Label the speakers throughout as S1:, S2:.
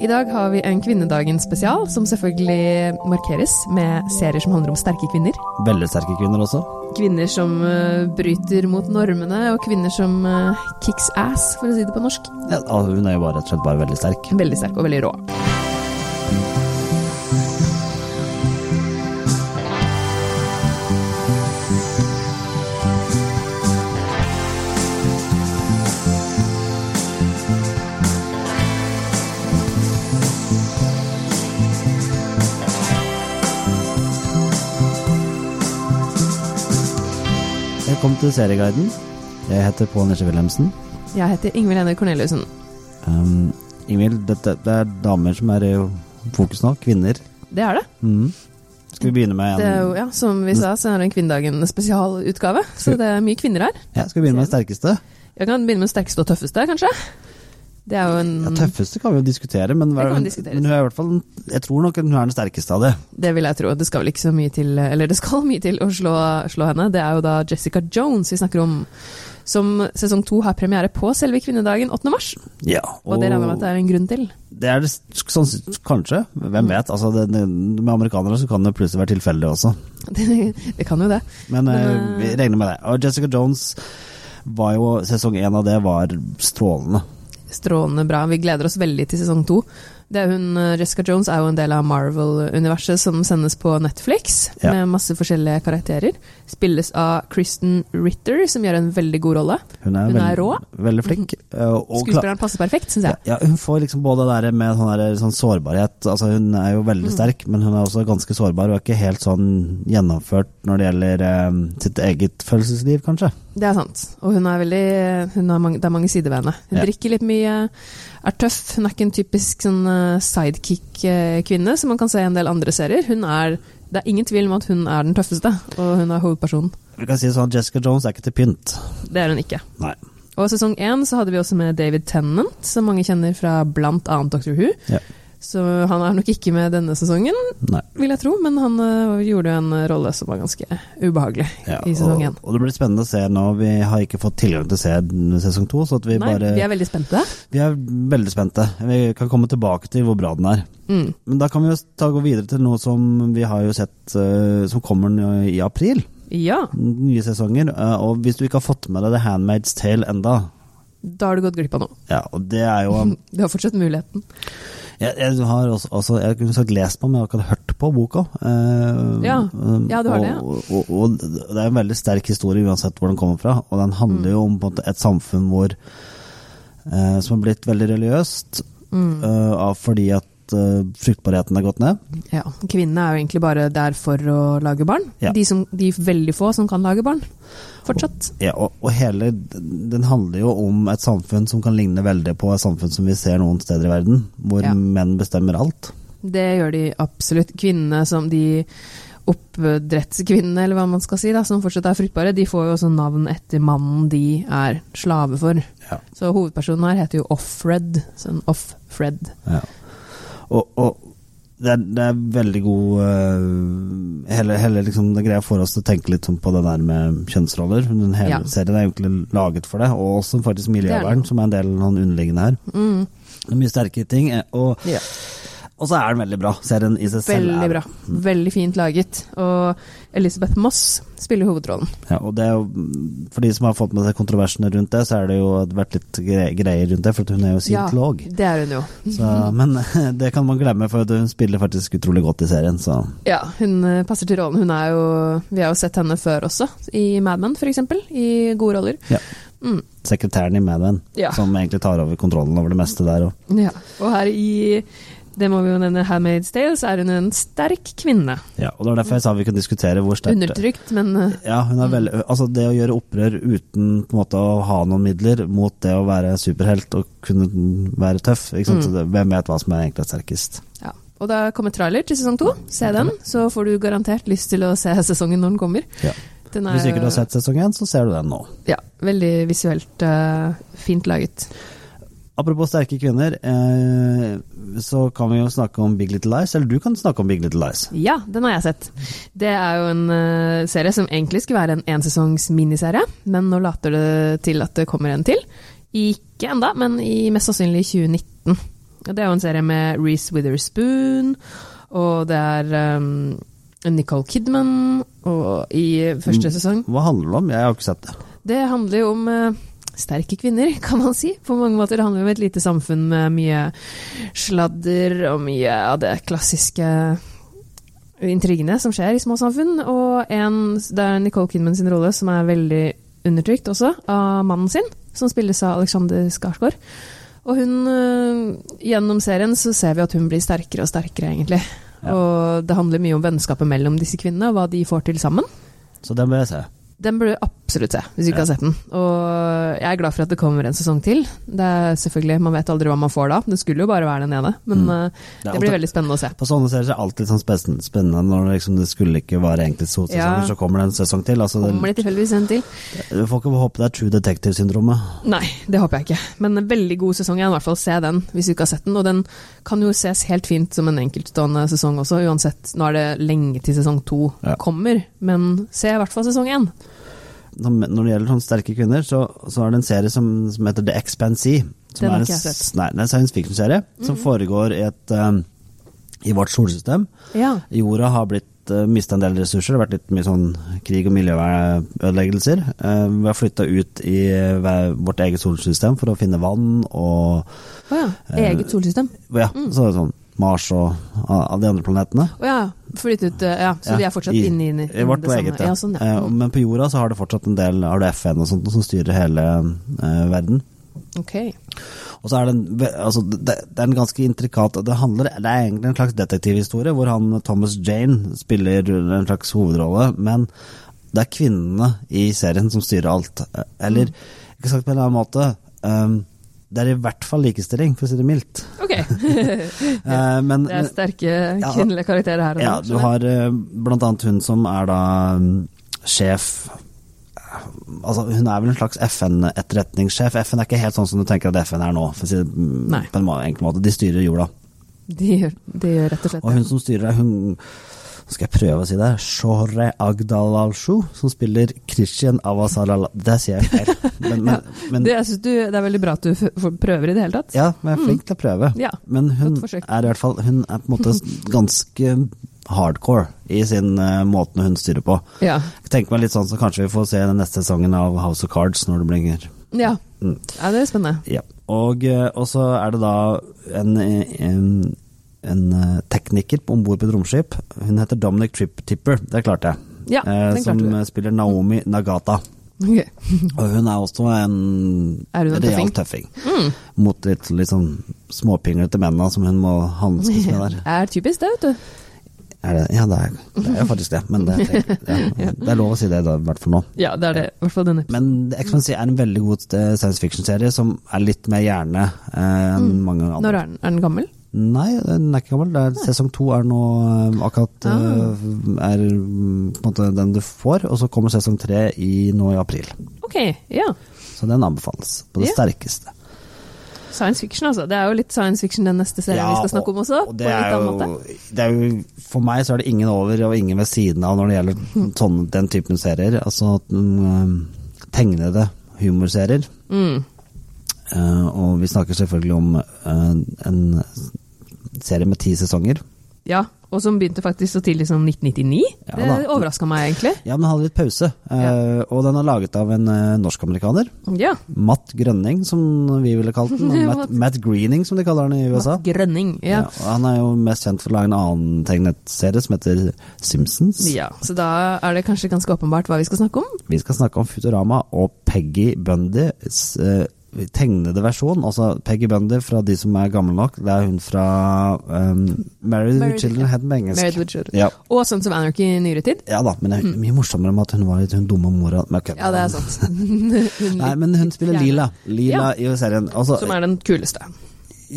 S1: I dag har vi en kvinnedagens spesial, som selvfølgelig markeres med serier som handler om sterke kvinner.
S2: Veldig sterke kvinner også.
S1: Kvinner som eh, bryter mot normene, og kvinner som eh, kicks ass, for å si det på norsk.
S2: Ja, al- hun er jo bare, rett og slett bare veldig sterk.
S1: Veldig sterk og veldig rå.
S2: Velkommen til Serieguiden. Jeg heter Pål Nisje Wilhelmsen.
S1: Jeg heter Ingvild Ene Corneliussen.
S2: Um, Ingvild, dette, det er damer som er i fokus nå. Kvinner.
S1: Det er det.
S2: Mhm. Skal vi begynne med
S1: det er jo,
S2: en
S1: ja, som vi sa, så er det en kvinnedagen spesialutgave, så det er mye kvinner her.
S2: ja, Skal vi begynne med den sterkeste?
S1: Jeg kan begynne med den sterkeste og tøffeste, kanskje. Det er jo en
S2: Ja, tøffeste kan vi jo diskutere, men,
S1: Mm. Det kan
S2: men,
S1: diskuteres.
S2: hun er i hvert fall Jeg tror nok hun er den sterkeste av det.
S1: Det vil jeg tro. Det skal vel ikke så mye til Eller det skal mye til å slå, slå henne. Det er jo da Jessica Jones vi snakker om. Som sesong to har premiere på selve kvinnedagen 8. mars.
S2: Ja,
S1: Og det regner jeg med at det er en grunn til.
S2: Det er det s- sånn, kanskje,
S1: Mm.
S2: hvem vet. Altså, det, det, med amerikanere så kan det plutselig være tilfeldig også.
S1: Det, det kan jo det.
S2: Men
S1: Men,
S2: eh, vi regner med det. Og Jessica Jones var jo Sesong én av det var strålende.
S1: Strålende bra. Vi gleder oss veldig til sesong to. Det er hun, eh, Jessica Jones er jo en del av Marvel-universet som sendes på Netflix,
S2: Ja.
S1: med masse forskjellige karakterer. Spilles av Kristen Ritter, som gjør en veldig god rolle.
S2: Hun er,
S1: Hun er
S2: veld-
S1: rå. Mhm.
S2: veldig flink. eh, og kla-
S1: Skuespilleren passer perfekt, syns jeg.
S2: ja, hun får liksom både det der med sånn, der, sånn sårbarhet altså Hun er jo
S1: Mhm.
S2: veldig sterk, men hun er også ganske sårbar. Hun er ikke helt sånn gjennomført når det gjelder eh, sitt eget følelsesliv, kanskje.
S1: Det er sant. Og hun er veldig hun har mange, Det er mange sider ved henne. Hun
S2: Ja.
S1: drikker litt mye, er tøff. Hun er ikke en typisk sånn sidekick-kvinne som man kan se i en del andre serier. Hun er Det er ingen tvil om at hun er den tøffeste, og hun er hovedpersonen.
S2: Vi kan si det sånn at Jessica Jones er ikke til pynt.
S1: Det er hun ikke.
S2: Nei.
S1: Og sesong én så hadde vi også med David Tennant, som mange kjenner fra blant annet Doctor Who.
S2: Ja.
S1: Så han er nok ikke med denne sesongen,
S2: Nei.
S1: vil jeg tro, men han øh, gjorde jo en øh, rolle som var ganske ubehagelig
S2: Ja,
S1: i sesong én.
S2: og, og det blir spennende å se nå. Vi har ikke fått tilgang til å se den sesong to, så at vi
S1: Nei,
S2: bare
S1: vi er veldig spente.
S2: Vi er veldig spente. Vi kan komme tilbake til hvor bra den er.
S1: Mm.
S2: Men da kan vi jo ta gå videre til noe som vi har jo sett eh, som kommer nå i april.
S1: Ja,
S2: Nye sesonger. eh, og hvis du ikke har fått med deg The Handmaid's Tale enda,
S1: da har du gått glipp av noe.
S2: ja, og det er jo
S1: Du har fortsatt muligheten.
S2: Jeg, jeg har også, også jeg kunne sagt lest på, men jeg har ikke hørt på boka. Eh,
S1: Ja.
S2: eh,
S1: Ja, du har det, ja.
S2: Og, og, og det er en veldig sterk historie uansett hvor den kommer fra, og den handler jo om på en måte, et samfunn hvor eh, som har blitt veldig religiøst
S1: Mm.
S2: eh, av fordi at eh, fruktbarheten er gått ned.
S1: Ja, Kvinnene er jo egentlig bare der for å lage barn.
S2: Ja.
S1: De, som, de veldig få som kan lage barn. Fortsatt.
S2: Ja, og, og hele Den handler jo om et samfunn som kan ligne veldig på et samfunn som vi ser noen steder i verden, hvor
S1: Ja.
S2: menn bestemmer alt.
S1: Det gjør de absolutt. Kvinnene som de Oppdrettskvinnene, eller hva man skal si, da, som fortsatt er fruktbare, de får jo også navn etter mannen de er slave for.
S2: Ja.
S1: Så hovedpersonen her heter jo Offred. Sånn Offred.
S2: Ja. Og, og det, er, det er veldig god eh, hele, hele liksom, Det greia får oss til å tenke litt sånn på det der med kjønnsroller. Den hele
S1: Ja.
S2: serien er jo egentlig laget for det, og også faktisk
S1: Det er
S2: miljøvern,
S1: det.
S2: som er en del av den underliggende her.
S1: Mm.
S2: Det er mye sterke ting, eh, og,
S1: Ja.
S2: og så er den veldig bra. Serien i seg selv
S1: Veldig
S2: er
S1: bra. Veldig fint laget. Og Elisabeth Moss spiller hovedrollen.
S2: Ja, og det er jo, for de som har fått med seg kontroversene rundt det, så er det jo vært litt gre greier rundt det, for at hun er jo scientolog.
S1: det er hun jo.
S2: Så, men det kan man glemme, for at hun spiller faktisk utrolig godt i serien, så
S1: Ja, hun eh, passer til rollen. Hun er jo, vi har jo sett henne før også, i Mad Men f.eks., i gode roller.
S2: Ja.
S1: Mm,
S2: sekretæren i Mad Men,
S1: Ja.
S2: som egentlig tar over kontrollen over det meste der. Og,
S1: ja. Og her i det må vi jo nevne, Handmaid's Tale, så er hun en sterk kvinne.
S2: ja, og det var derfor jeg sa vi kunne diskutere hvor sterkt
S1: Undertrykt, men eh,
S2: ja, hun er veldig, altså Det å gjøre opprør uten på en måte å ha noen midler, mot det å være superhelt og kunne være tøff ikke
S1: Mm.
S2: sant? Så det, Hvem vet hva som er egentlig sterkest?
S1: ja. Og da kommer trailer til sesong to. Se den, så får du garantert lyst til å se sesongen når den kommer.
S2: Ja.
S1: Den er
S2: Hvis ikke du har sett sesong én, så ser du den nå.
S1: Ja, veldig visuelt eh, fint laget.
S2: Apropos sterke kvinner, eh, så kan vi jo snakke om Big Little Lies. Eller du kan snakke om Big Little Lies.
S1: Ja, den har jeg sett. Det er jo en eh, serie som egentlig skulle være en ensesongs miniserie, men nå later det til at det kommer en til. Ikke enda, men i mest sannsynlig i 2019. Det er jo en serie med Reece Witherspoon, og det er um, Nicole Kidman og i første
S2: Mm.
S1: sesong.
S2: Hva handler det om? Jeg har ikke sett det.
S1: Det handler jo om eh, sterke kvinner, kan man si. På mange måter Det handler det om et lite samfunn med mye sladder og mye av det klassiske intrigene som skjer i små samfunn. Og en, det er Nicole Kidman sin rolle som er veldig undertrykt også, av mannen sin, som spilles av Alexander Skarsgård. Og hun, eh, gjennom serien så ser vi at hun blir sterkere og sterkere, egentlig.
S2: Ja.
S1: Og det handler mye om vennskapet mellom disse kvinnene, og hva de får til sammen.
S2: Så den bør jeg se.
S1: Den burde du absolutt se, hvis du ikke har
S2: Ja.
S1: sett den. Og jeg er glad for at det kommer en sesong til. Det er selvfølgelig, Man vet aldri hva man får da. Det skulle jo bare være den ene, men
S2: Mm.
S1: eh,
S2: Det er
S1: det blir
S2: alltid-
S1: veldig spennende å se.
S2: På sånne serier så er det alltid sånn spen- spennende når det, liksom, det skulle ikke være egentlig to sesonger,
S1: Ja.
S2: så kommer det en sesong til. Altså,
S1: Kommer
S2: det,
S1: det tilfeldigvis en til?
S2: du får ikke håpe det er True Detective-syndromet.
S1: Nei, det håper jeg ikke. Men en veldig god sesong. Jeg i hvert fall se den, hvis du ikke har sett den. Og den kan jo ses helt fint som en enkeltstående sesong også, uansett. Nå er det lenge til sesong to
S2: Ja.
S1: kommer, men se i hvert fall sesong én.
S2: Som- Når det gjelder sånne sterke kvinner, så, så er det en serie som, som heter The Expansee. Som
S1: Den har
S2: er
S1: ikke
S2: en
S1: jeg sett. Mhm.
S2: s- Nei, det er en science fiction-serie som foregår i, et, eh, i vårt solsystem.
S1: Ja.
S2: Jorda har blitt uh, mista en del ressurser, det har vært litt mye sånn krig og miljøødeleggelser. Eh, vi har flytta ut i eh, hver- vårt eget solsystem for å finne vann og
S1: Å ja.
S2: Eh,
S1: Eget solsystem.
S2: ja,
S1: Mm.
S2: så er det sånn Mars og ah, alle de andre planetene.
S1: Å ja. Flyttet ut eh, Ja, så
S2: Ja,
S1: de er fortsatt
S2: i-
S1: inne i,
S2: I vårt
S1: det samme.
S2: eget, ja.
S1: ja sånn, ja.
S2: Eh, men på jorda så har det fortsatt en del har det FN og sånt som styrer hele eh, verden.
S1: Ok.
S2: Og så er det en, ve- altså, det, det er en ganske intrikat det, handler, det er egentlig en slags detektivhistorie hvor han Thomas Jane spiller en slags hovedrolle, men det er kvinnene i serien som styrer alt. Eh, Eller,
S1: Mm.
S2: ikke sagt på en eller annen måte ehm, Det er i hvert fall likestilling, for å si det mildt.
S1: Ok.
S2: Eh, men,
S1: Det er sterke
S2: Ja.
S1: kvinnelige karakterer her. altså. og
S2: ja,
S1: nå, skjønner
S2: du
S1: jeg.
S2: har eh, blant annet hun som er da mm, sjef eh, Altså, hun er vel en slags FN-etterretningssjef. FN er ikke helt sånn som du tenker at FN er nå, for å si det mm,
S1: Nei.
S2: på en ma- enkel måte. De styrer jorda.
S1: De gjør, de gjør rett og slett
S2: Og hun som styrer deg, hun Nå skal jeg prøve å si det. Shore Agdalalshu, som spiller Christian Avasarala... Det sier jeg feil. Men, men, men
S1: det. Jeg synes du, det er veldig bra at du f f prøver i det hele tatt.
S2: ja, men jeg er flink til å prøve.
S1: Mm. Ja,
S2: Men hun
S1: godt forsøk.
S2: er i hvert fall Hun er på en måte ganske hardcore i sin eh, måten hun styrer på.
S1: Ja.
S2: Jeg tenker meg litt sånn så kanskje vi får se den neste sesongen av House of Cards når det blir
S1: ja.
S2: Mm.
S1: ja, det er spennende.
S2: Ja. Og, eh, og så er det da en, en, en eh, tekniker om bord på et romskip. Hun heter Dominic Trip Tipper, det klarte jeg.
S1: Ja,
S2: Eh,
S1: den
S2: som
S1: klarte du.
S2: eh, spiller Naomi Nagata.
S1: Ok.
S2: Og hun er også en
S1: Er hun en tøffing?
S2: real tøffing.
S1: Mm.
S2: Mot litt, litt sånn småpinglete mennene som hun må hanskes med der.
S1: Det er typisk det, vet du.
S2: Er det, ja, det er, det er jo faktisk det, men det, ja, det er lov å si det, da, i hvert fall nå.
S1: Ja, det er det. I hvert fall denne.
S2: Men The
S1: Mm.
S2: Expanse er en veldig god eh, science fiction-serie som er litt mer hjerne eh, enn mange andre.
S1: Mm. Når er den? Er den gammel?
S2: Nei, den er ikke gammel. Det er, sesong to er nå eh, akkurat eh,
S1: Ah.
S2: er mm, på en måte den du får, og så kommer sesong tre i, nå i april.
S1: Ok, ja.
S2: Så den anbefales på det
S1: Ja.
S2: sterkeste.
S1: Science fiction, altså. Det er jo litt science fiction den neste serien vi skal snakke om også.
S2: og
S1: på
S2: det
S1: en litt
S2: er,
S1: annen måte.
S2: jo, det er jo For meg så er det ingen over og ingen ved siden av når det gjelder
S1: Hm.
S2: sånne, den typen serier. Altså mm, tegnede humorserier.
S1: Mm.
S2: Eh, og vi snakker selvfølgelig om eh, en serie med ti sesonger.
S1: Ja, og som begynte faktisk så tidlig som 1999.
S2: Ja,
S1: det
S2: da.
S1: overraska meg egentlig.
S2: Ja, den hadde litt pause, eh, og den er laget av en eh, norsk-amerikaner.
S1: Ja.
S2: Matt Grønning, som vi ville kalt den. og Matt, Matt Greening, som de kaller han i USA.
S1: Matt Grønning. Ja.
S2: Ja, og han er jo mest kjent for å lage en annen tegneserie som heter Simpsons.
S1: Ja, så da er det kanskje ganske åpenbart hva vi skal snakke om.
S2: Vi skal snakke om Futurama og Peggy Bundys eh, tegnede versjon. Altså Peggy Bundy fra de som er gamle nok. Det er hun fra um, Married
S1: Married-
S2: with Children, het den på engelsk.
S1: Married with Children.
S2: Ja.
S1: Og Sons of Anarchy i nyere tid.
S2: Ja da, men det er mye morsommere med at hun var litt hun dumme mora. Men ok.
S1: Mm. Ja, det er sant. Hun
S2: Nei, men hun spiller
S1: fjerne.
S2: Lila. Lila i serien. Altså,
S1: Som er den kuleste.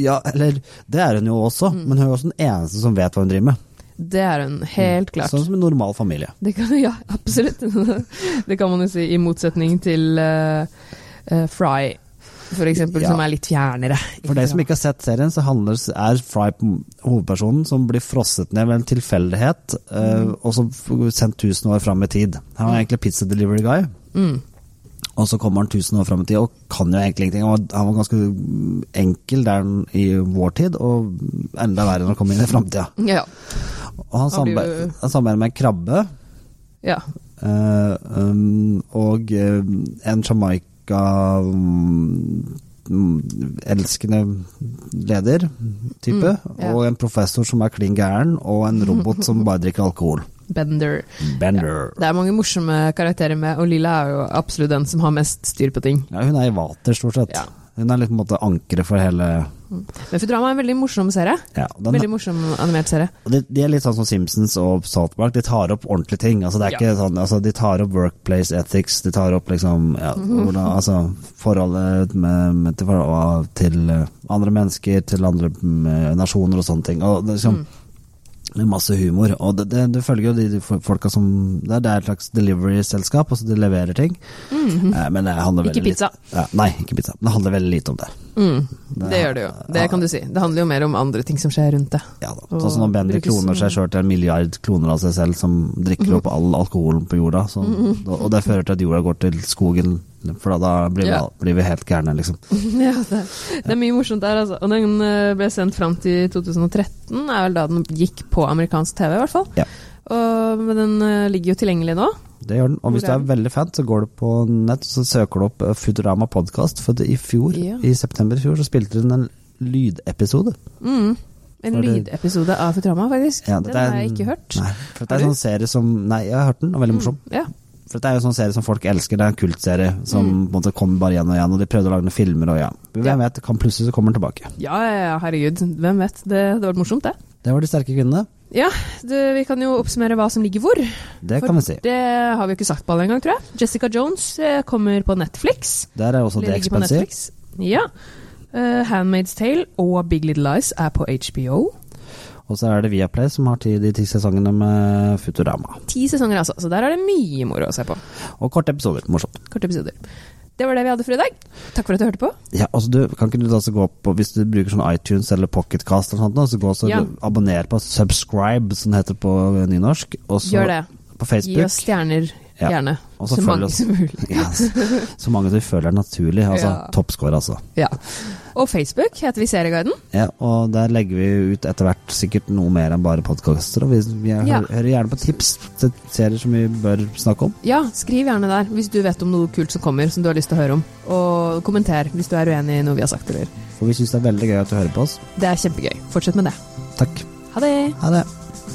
S2: ja, eller det er hun jo også,
S1: Mm.
S2: men hun er også den eneste som vet hva hun driver med.
S1: Det er hun, helt klart.
S2: Sånn som en normal familie.
S1: Det kan, ja, absolutt. Det kan man jo si, i motsetning til eh, eh, Fry, for eksempel,
S2: Ja.
S1: som er litt fjernere.
S2: For deg som ikke har sett serien, så handler, er Fry på- hovedpersonen som blir frosset ned ved en tilfeldighet,
S1: Mm.
S2: eh, og som f- sendt tusen år fram i tid. Han var egentlig pizza delivery guy,
S1: Mm.
S2: Og så kommer han 1000 år fram i tid og kan jo egentlig ingenting. Han var, han var ganske enkel der han- i vår tid, og enda verre når han kom inn i framtida.
S1: Ja.
S2: Og han
S1: Har du-
S2: samarbeider, han samarbeider med en krabbe
S1: ja.
S2: eh, um, og eh, en Jamaica-elskende mm, leder type,
S1: Mm, ja.
S2: og en professor som er klin gæren, og en robot som bare drikker alkohol.
S1: Bender.
S2: Bender.
S1: Det er mange morsomme karakterer med, og Lilla er jo absolutt den som har mest styr på ting.
S2: Ja, hun er i vater, stort sett.
S1: Ja.
S2: Hun er litt på en måte ankeret for hele
S1: Men Futurama er en veldig morsom serie.
S2: ja, den,
S1: Veldig morsom animert serie.
S2: Og De, de er litt sånn som Simpsons og Salt Park, de tar opp ordentlige ting. Altså, det er
S1: Ja.
S2: ikke sånn, altså, de tar opp workplace ethics, de tar opp liksom, ja,
S1: Mhm.
S2: hvordan, altså, forholdet med, med, til, forhold- til eh, andre mennesker, til andre mm, nasjoner og sånne ting. Og det,
S1: Mhm.
S2: er liksom, med masse humor. Og det, det, du følger jo de, de fo- folka som Det er, det er et slags delivery-selskap, altså de leverer ting. Eh, Men det handler
S1: Mm. Mhm. Ikke
S2: veldig litt-
S1: pizza.
S2: Ja, nei, ikke pizza. Men det handler veldig lite om det.
S1: Mm, det gjør det jo. Det
S2: ja.
S1: kan du si. Det handler jo mer om andre ting som skjer rundt det.
S2: Ja da.
S1: Og
S2: Sånn som når Bendy
S1: brukes-
S2: kloner seg sjøl til en milliard kloner av seg selv, som drikker opp all alkoholen på jorda. Så,
S1: Mm-hmm.
S2: og det fører til at jorda går til skogen, for da, da blir, vi,
S1: Ja.
S2: al- blir vi helt gærne, liksom.
S1: ja, det, det er mye morsomt der, altså. Og den eh, ble sendt fram til 2013, er vel da den gikk på amerikansk TV, i hvert fall.
S2: Ja.
S1: Og, men den eh, ligger jo tilgjengelig nå.
S2: Det gjør den. Og hvis
S1: Hvor
S2: du
S1: er
S2: er veldig fan, så går du på nett så søker du opp eh, Futurama podcast. For det- i fjor,
S1: Ja.
S2: i september i fjor, så spilte den en lydepisode.
S1: Mm. En
S2: Var det-
S1: lydepisode av Futurama, faktisk.
S2: Ja,
S1: den
S2: dette er
S1: har jeg
S2: en-
S1: ikke hørt.
S2: Nei, for det
S1: Har
S2: er
S1: du? Mm.
S2: en sånn serie som Nei, jeg har hørt den, og veldig morsom.
S1: Ja.
S2: For det er jo en sånn serie som folk elsker, det er en kultserie som på en måte kommer bare igjen og igjen. Og de prøvde å lage noen filmer og ja. Hvem
S1: Mm. Ja.
S2: vet, kan plutselig så kommer den tilbake.
S1: ja, ja, ja, herregud. Hvem vet. Det, det var morsomt, det.
S2: Det var de sterke kvinnene.
S1: Ja, det, vi kan jo oppsummere hva som ligger hvor.
S2: Det
S1: For
S2: kan vi si.
S1: Det har vi jo ikke sagt på alle engang, tror jeg. Jessica Jones eh, kommer på Netflix.
S2: Der er også
S1: Eller
S2: The
S1: ligger på
S2: Expensive.
S1: Netflix. Ja. Eh, Handmaid's Tale og Big Little Lies er på HBO.
S2: Og så er det Viaplay som har tid de ti sesongene med Futurama.
S1: Ti sesonger, altså. Så der er det mye moro å se på.
S2: Og korte episoder. Morsomt.
S1: Korte episoder. Det var det vi hadde for i dag. Takk for at du hørte på.
S2: Ja, altså du, kan ikke du da også gå opp på, Hvis du bruker sånn iTunes eller Pocketcast eller sånt, nå, så gå og
S1: Ja.
S2: abonner på Subscribe, som det heter på nynorsk. Og så
S1: Gjør det.
S2: på
S1: Gi oss
S2: Facebook.
S1: stjerner,
S2: Ja.
S1: gjerne.
S2: Og så
S1: Så
S2: følg
S1: mange
S2: oss.
S1: som mulig.
S2: Yes. Så mange du føler er naturlig. Altså
S1: Ja.
S2: toppscore, altså.
S1: Ja. Og Facebook heter vi Serieguiden.
S2: Ja, og der legger vi ut etter hvert sikkert noe mer enn bare podkaster. Og vi, vi er,
S1: Ja.
S2: hører gjerne på tips til serier som vi bør snakke om.
S1: Ja, skriv gjerne der hvis du vet om noe kult som kommer som du har lyst til å høre om. Og kommenter hvis du er uenig i noe vi har sagt. Eller.
S2: For vi syns det er veldig gøy at du hører på oss.
S1: Det er kjempegøy. Fortsett med det.
S2: Takk.
S1: Ha det!
S2: Ha det.